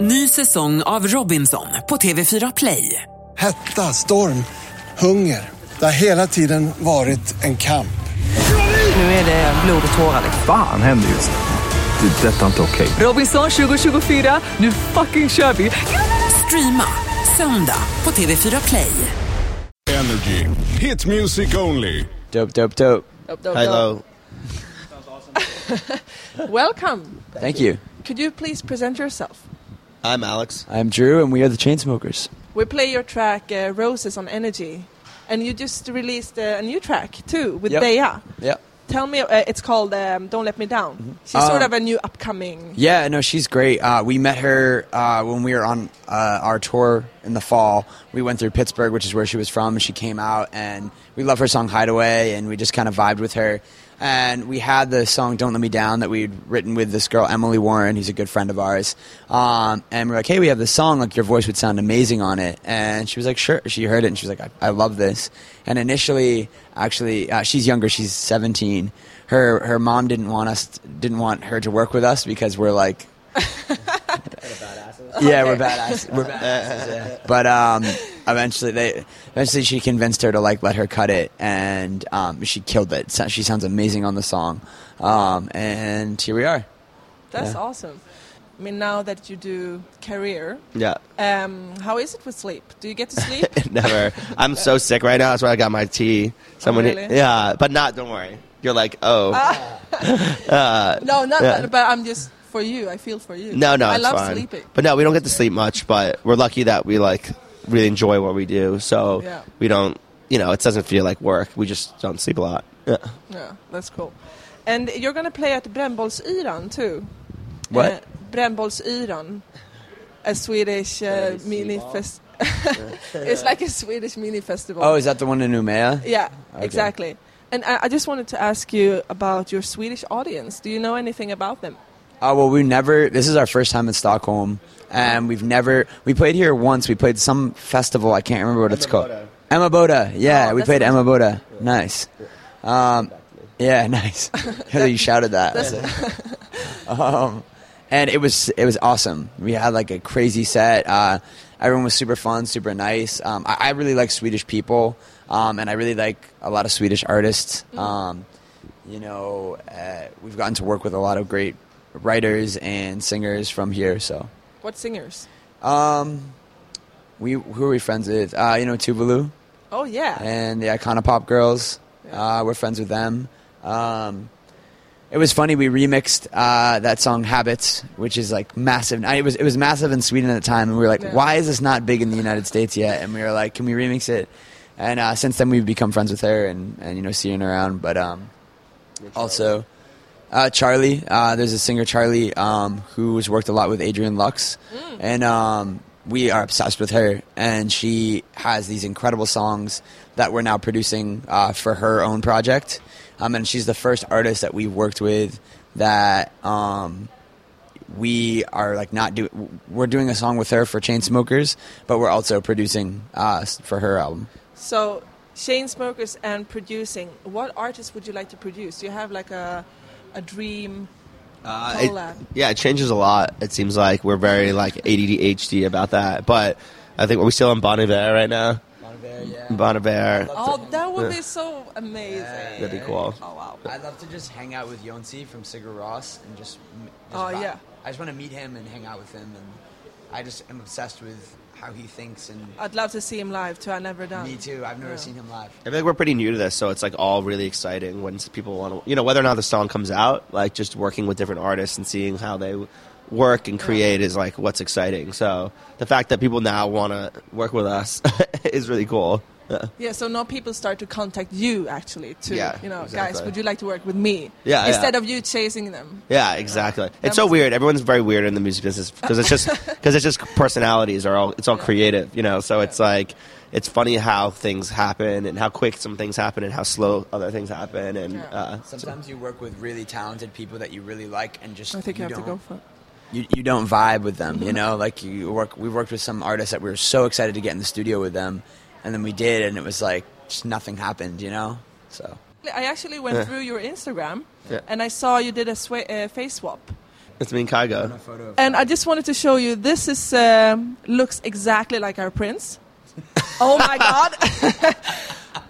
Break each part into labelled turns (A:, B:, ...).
A: Ny säsong av Robinson på TV4 Play.
B: Hetta, storm, hunger. Det har hela tiden varit en kamp.
A: Nu är det blod och tårar.
C: Fan händer just nu. Det. är Detta är inte okej.
A: Robinson 2024, nu fucking kör vi! Streama söndag på TV4 Play.
D: Energy. Hit music only.
E: Dope, dope, dope.
F: Hello.
G: Welcome.
E: Thank you.
G: Could you please present yourself?
F: I'm Alex.
E: I'm Drew, and we are the Chainsmokers.
G: We play your track uh, Roses on Energy, and you just released uh, a new track too with
E: Yep.
G: Bea.
E: Yeah.
G: Tell me, uh, it's called um, Don't Let Me Down.
F: Mm-hmm.
G: She's
F: Ah.
G: sort of a new upcoming.
E: Yeah, no, she's great. Uh, we met her uh, when we were on uh, our tour in the fall. We went through Pittsburgh, which is where she was from. and She came out, and we love her song Hideaway, and we just kind of vibed with her. And we had the song Don't Let Me Down that we'd written with this girl, Emily Warren, who's a good friend of ours. Um, and we we're like, hey, we have this song, like, your voice would sound amazing on it. And she was like, sure. She heard it, and she was like, I, I love this. And initially, actually, uh, she's younger, she's 17. her her mom didn't want us didn't want her to work with us because we're like yeah we're badasses we're badasses yeah. but um eventually they eventually she convinced her to like let her cut it and um she killed it so she sounds amazing on the song um and here we are
G: That's
E: Yeah.
G: awesome. I mean, now that you do career,
F: Yeah.
G: um, how is it with sleep? Do you get to sleep?
F: Never. I'm so sick right now. That's why I got my tea. Someone.
G: really? Ah,
F: Yeah, but not. Don't worry. You're like, oh,
G: no, not.
F: Yeah.
G: But I'm just for you. I feel for you.
F: no, no.
G: I
F: it's
G: love
F: fine.
G: sleeping.
F: But no, we don't get to sleep much. But we're lucky that we like really enjoy what we do. So
G: Yeah.
F: we don't. You know, it doesn't feel like work. We just don't sleep a lot. Yeah.
G: Yeah, that's cool. And you're gonna play at Brännbollsyran too.
E: What?
G: Uh, Brännbollsyran, a Swedish uh, mini fest. it's like a Swedish mini festival.
E: oh is that the one in Umea
G: yeah, exactly. And I, I just wanted to ask you about your Swedish audience. Do you know anything about them?
E: Uh, well, we never. This is our first time in Stockholm, and we've never. We played here once. We played some festival. I can't remember what it's called. Emma Boda. Yeah,
G: Oh,
E: we
G: that's
E: played Emma Boda. Nice. Um, yeah, nice. you shouted that. um, and it was it was awesome. We had like a crazy set. Uh, everyone was super fun, super nice. Um, I, I really like Swedish people, um, and I really like a lot of Swedish artists.
G: Mm-hmm.
E: Um, you know, uh, we've gotten to work with a lot of great writers and singers from here. So
G: What singers?
E: we who are we friends with? Uh, you know, Tuvalu
G: Oh yeah,
E: and the Iconopop Girls. Uh, we're friends with them. Um, it was funny. We remixed uh, that song "Habits," which is like massive. I- It was it was massive in Sweden at the time, and we were like,
G: Yeah.
E: "Why is this not big in the United States yet?" And we were like, "Can we remix it?" And uh, since then, we've become friends with her, and, and you know, seeing around. But um, also, uh, Charlie. Uh, there's a singer Charlie um, who has worked a lot with Adrian Lux, and um, we are obsessed with her. And she has these incredible songs that we're now producing uh, for her own project. Um, and she's the first artist that we've worked with that um, we are like not do. We're doing a song with her for Chainsmokers, but we're also producing uh, s- for her album.
G: So, chain smokers and producing. What artists would you like to produce? Do you have like a a dream
E: Uh,
F: it-
G: collab?
F: yeah, it changes a lot. It seems like we're very like ADHD about that. But I think we're we still on Bon Iver right now. Bon Iver.
G: oh, that would be so amazing.
F: That'd be cool.
G: Oh wow.
E: I'd love to just hang out with Yonsei from Sigur Ross and just. m- just
G: Oh, yeah.
E: I just want to meet him and hang out with him, and I just am obsessed with how he thinks. And
G: I'd love to see him live too. I never done.
E: me too. I've never
G: Uh, Yeah.
E: seen him live.
F: I feel like we're pretty new to this, so it's like all really exciting when people want to, you know, whether or not the song comes out, like just working with different artists and seeing how they work and create is like what's exciting. So the fact that people now want to work with us is really cool. Uh,
G: Yeah, so now people start to contact you actually too.
F: Yeah,
G: you know, guys,
F: exactly.
G: would you like to work with me?
F: Yeah, yeah.
G: Instead of you chasing them.
F: Yeah, exactly.
G: That
F: It's so
G: must-
F: weird. Everyone's very weird in the music business because it's just because it's just personalities are all it's all creative, you know. So it's like it's funny how things happen and how quick some things happen and how slow other things happen and
G: Yeah.
F: uh,
E: Sometimes you work with really talented people that you really like, and just
G: I think you, have
E: don't,
G: to go Mm-hmm. for it.
E: you, you don't vibe with them, you know. Like you work, we worked with some artists that we were so excited to get in the studio with them, and then we did, and it was like just nothing happened, you know. So
G: I actually went through your Instagram
F: Yeah.
G: and I saw you did a swa- uh, face swap.
F: It's me and Kygo.
G: And I just wanted to show you. This is um, looks exactly like our prints. oh my god!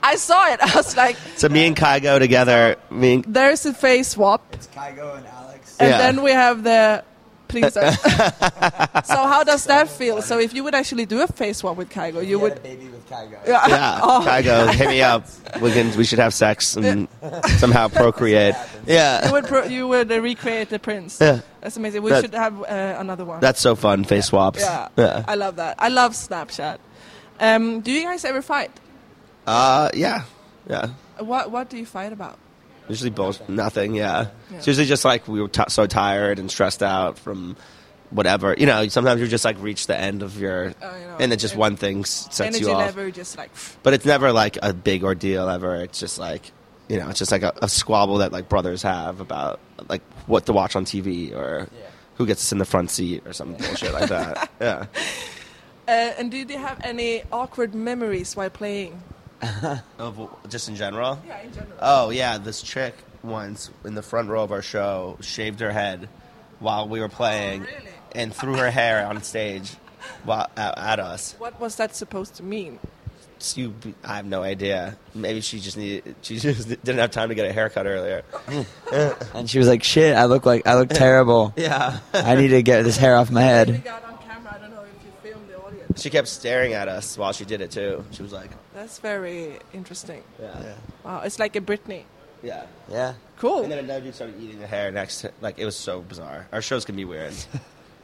G: I saw it. I was like,
F: So me and Kygo together. Me and
G: "There's a face swap,"
E: It's Kygo and Alex.
G: and
F: Yeah.
G: then we have the princess. so how does that feel? So if you would actually do a face swap with Kygo, you would. Oh,
E: baby with Kygo.
F: yeah, Kygo, hit me up. We can. We should have sex and somehow procreate.
G: You
F: Yeah,
G: would, pro- you would uh, recreate the prince.
F: Yeah.
G: That's amazing. We
F: That-
G: should have uh, another one.
F: that's so fun. Face swaps.
G: yeah. I love that. I love Snapchat. Um, do you guys ever fight?
F: Uh, yeah, yeah.
G: What What do you fight about?
F: Usually both nothing. Yeah.
G: Yeah.
F: It's usually just like we were t- so tired and stressed out from whatever. You know, sometimes you just like reach the end of your,
G: I Oh, know.
F: and then just one thing s- sets
G: Energy
F: you off.
G: level, just like
F: But it's never like a big ordeal ever. It's just like you know, it's just like a, a squabble that like brothers have about like what to watch on TV or who gets in the front seat or some bullshit like that. Yeah.
G: Uh, and did you have any awkward memories while playing?
F: Of, just in general.
G: Yeah, in general.
F: Oh yeah, this chick once in the front row of our show shaved her head while we were playing
G: Oh, really?
F: and threw her hair on stage while, at, at us.
G: What was that supposed to mean?
F: You, I have no idea. Maybe she just needed. She just didn't have time to get a haircut earlier.
E: And she was like, "Shit, I look like I look terrible.
F: Yeah.
E: I need to get this hair off my
G: We
E: head."
G: got on camera. I don't know if you filmed the audience.
F: She kept staring at us while she did it too. She was like,
G: That's very interesting.
F: yeah,
G: Wow, it's like a Britney.
F: yeah.
E: Yeah.
G: Cool.
F: And then another dude started eating the hair next. to Like it was so bizarre. Our shows can be weird.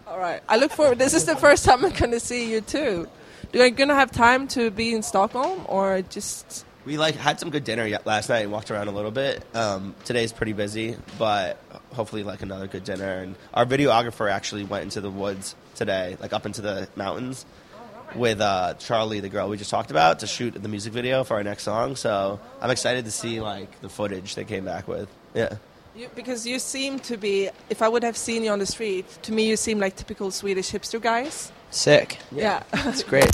G: All right. I look forward. This is the first time I'm gonna see you too. Do you gonna have time to be in Stockholm or just?
F: We like had some good dinner ye- last night and walked around a little bit. Um, today's pretty busy, but hopefully like another good dinner. And our videographer actually went into the woods today, like up into the mountains, with uh, Charlie, the girl we just talked about, to shoot the music video for our next song. So I'm excited to see like the footage they came back with. Yeah,
G: You, because you seem to be. If I would have seen you on the street, to me you seem like typical Swedish hipster guys.
E: Sick.
G: Yeah.
E: It's great.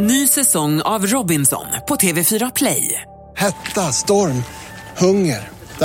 A: Ny säsong av Robinson på TV4 Play.
B: Hetta, storm, hunger. Det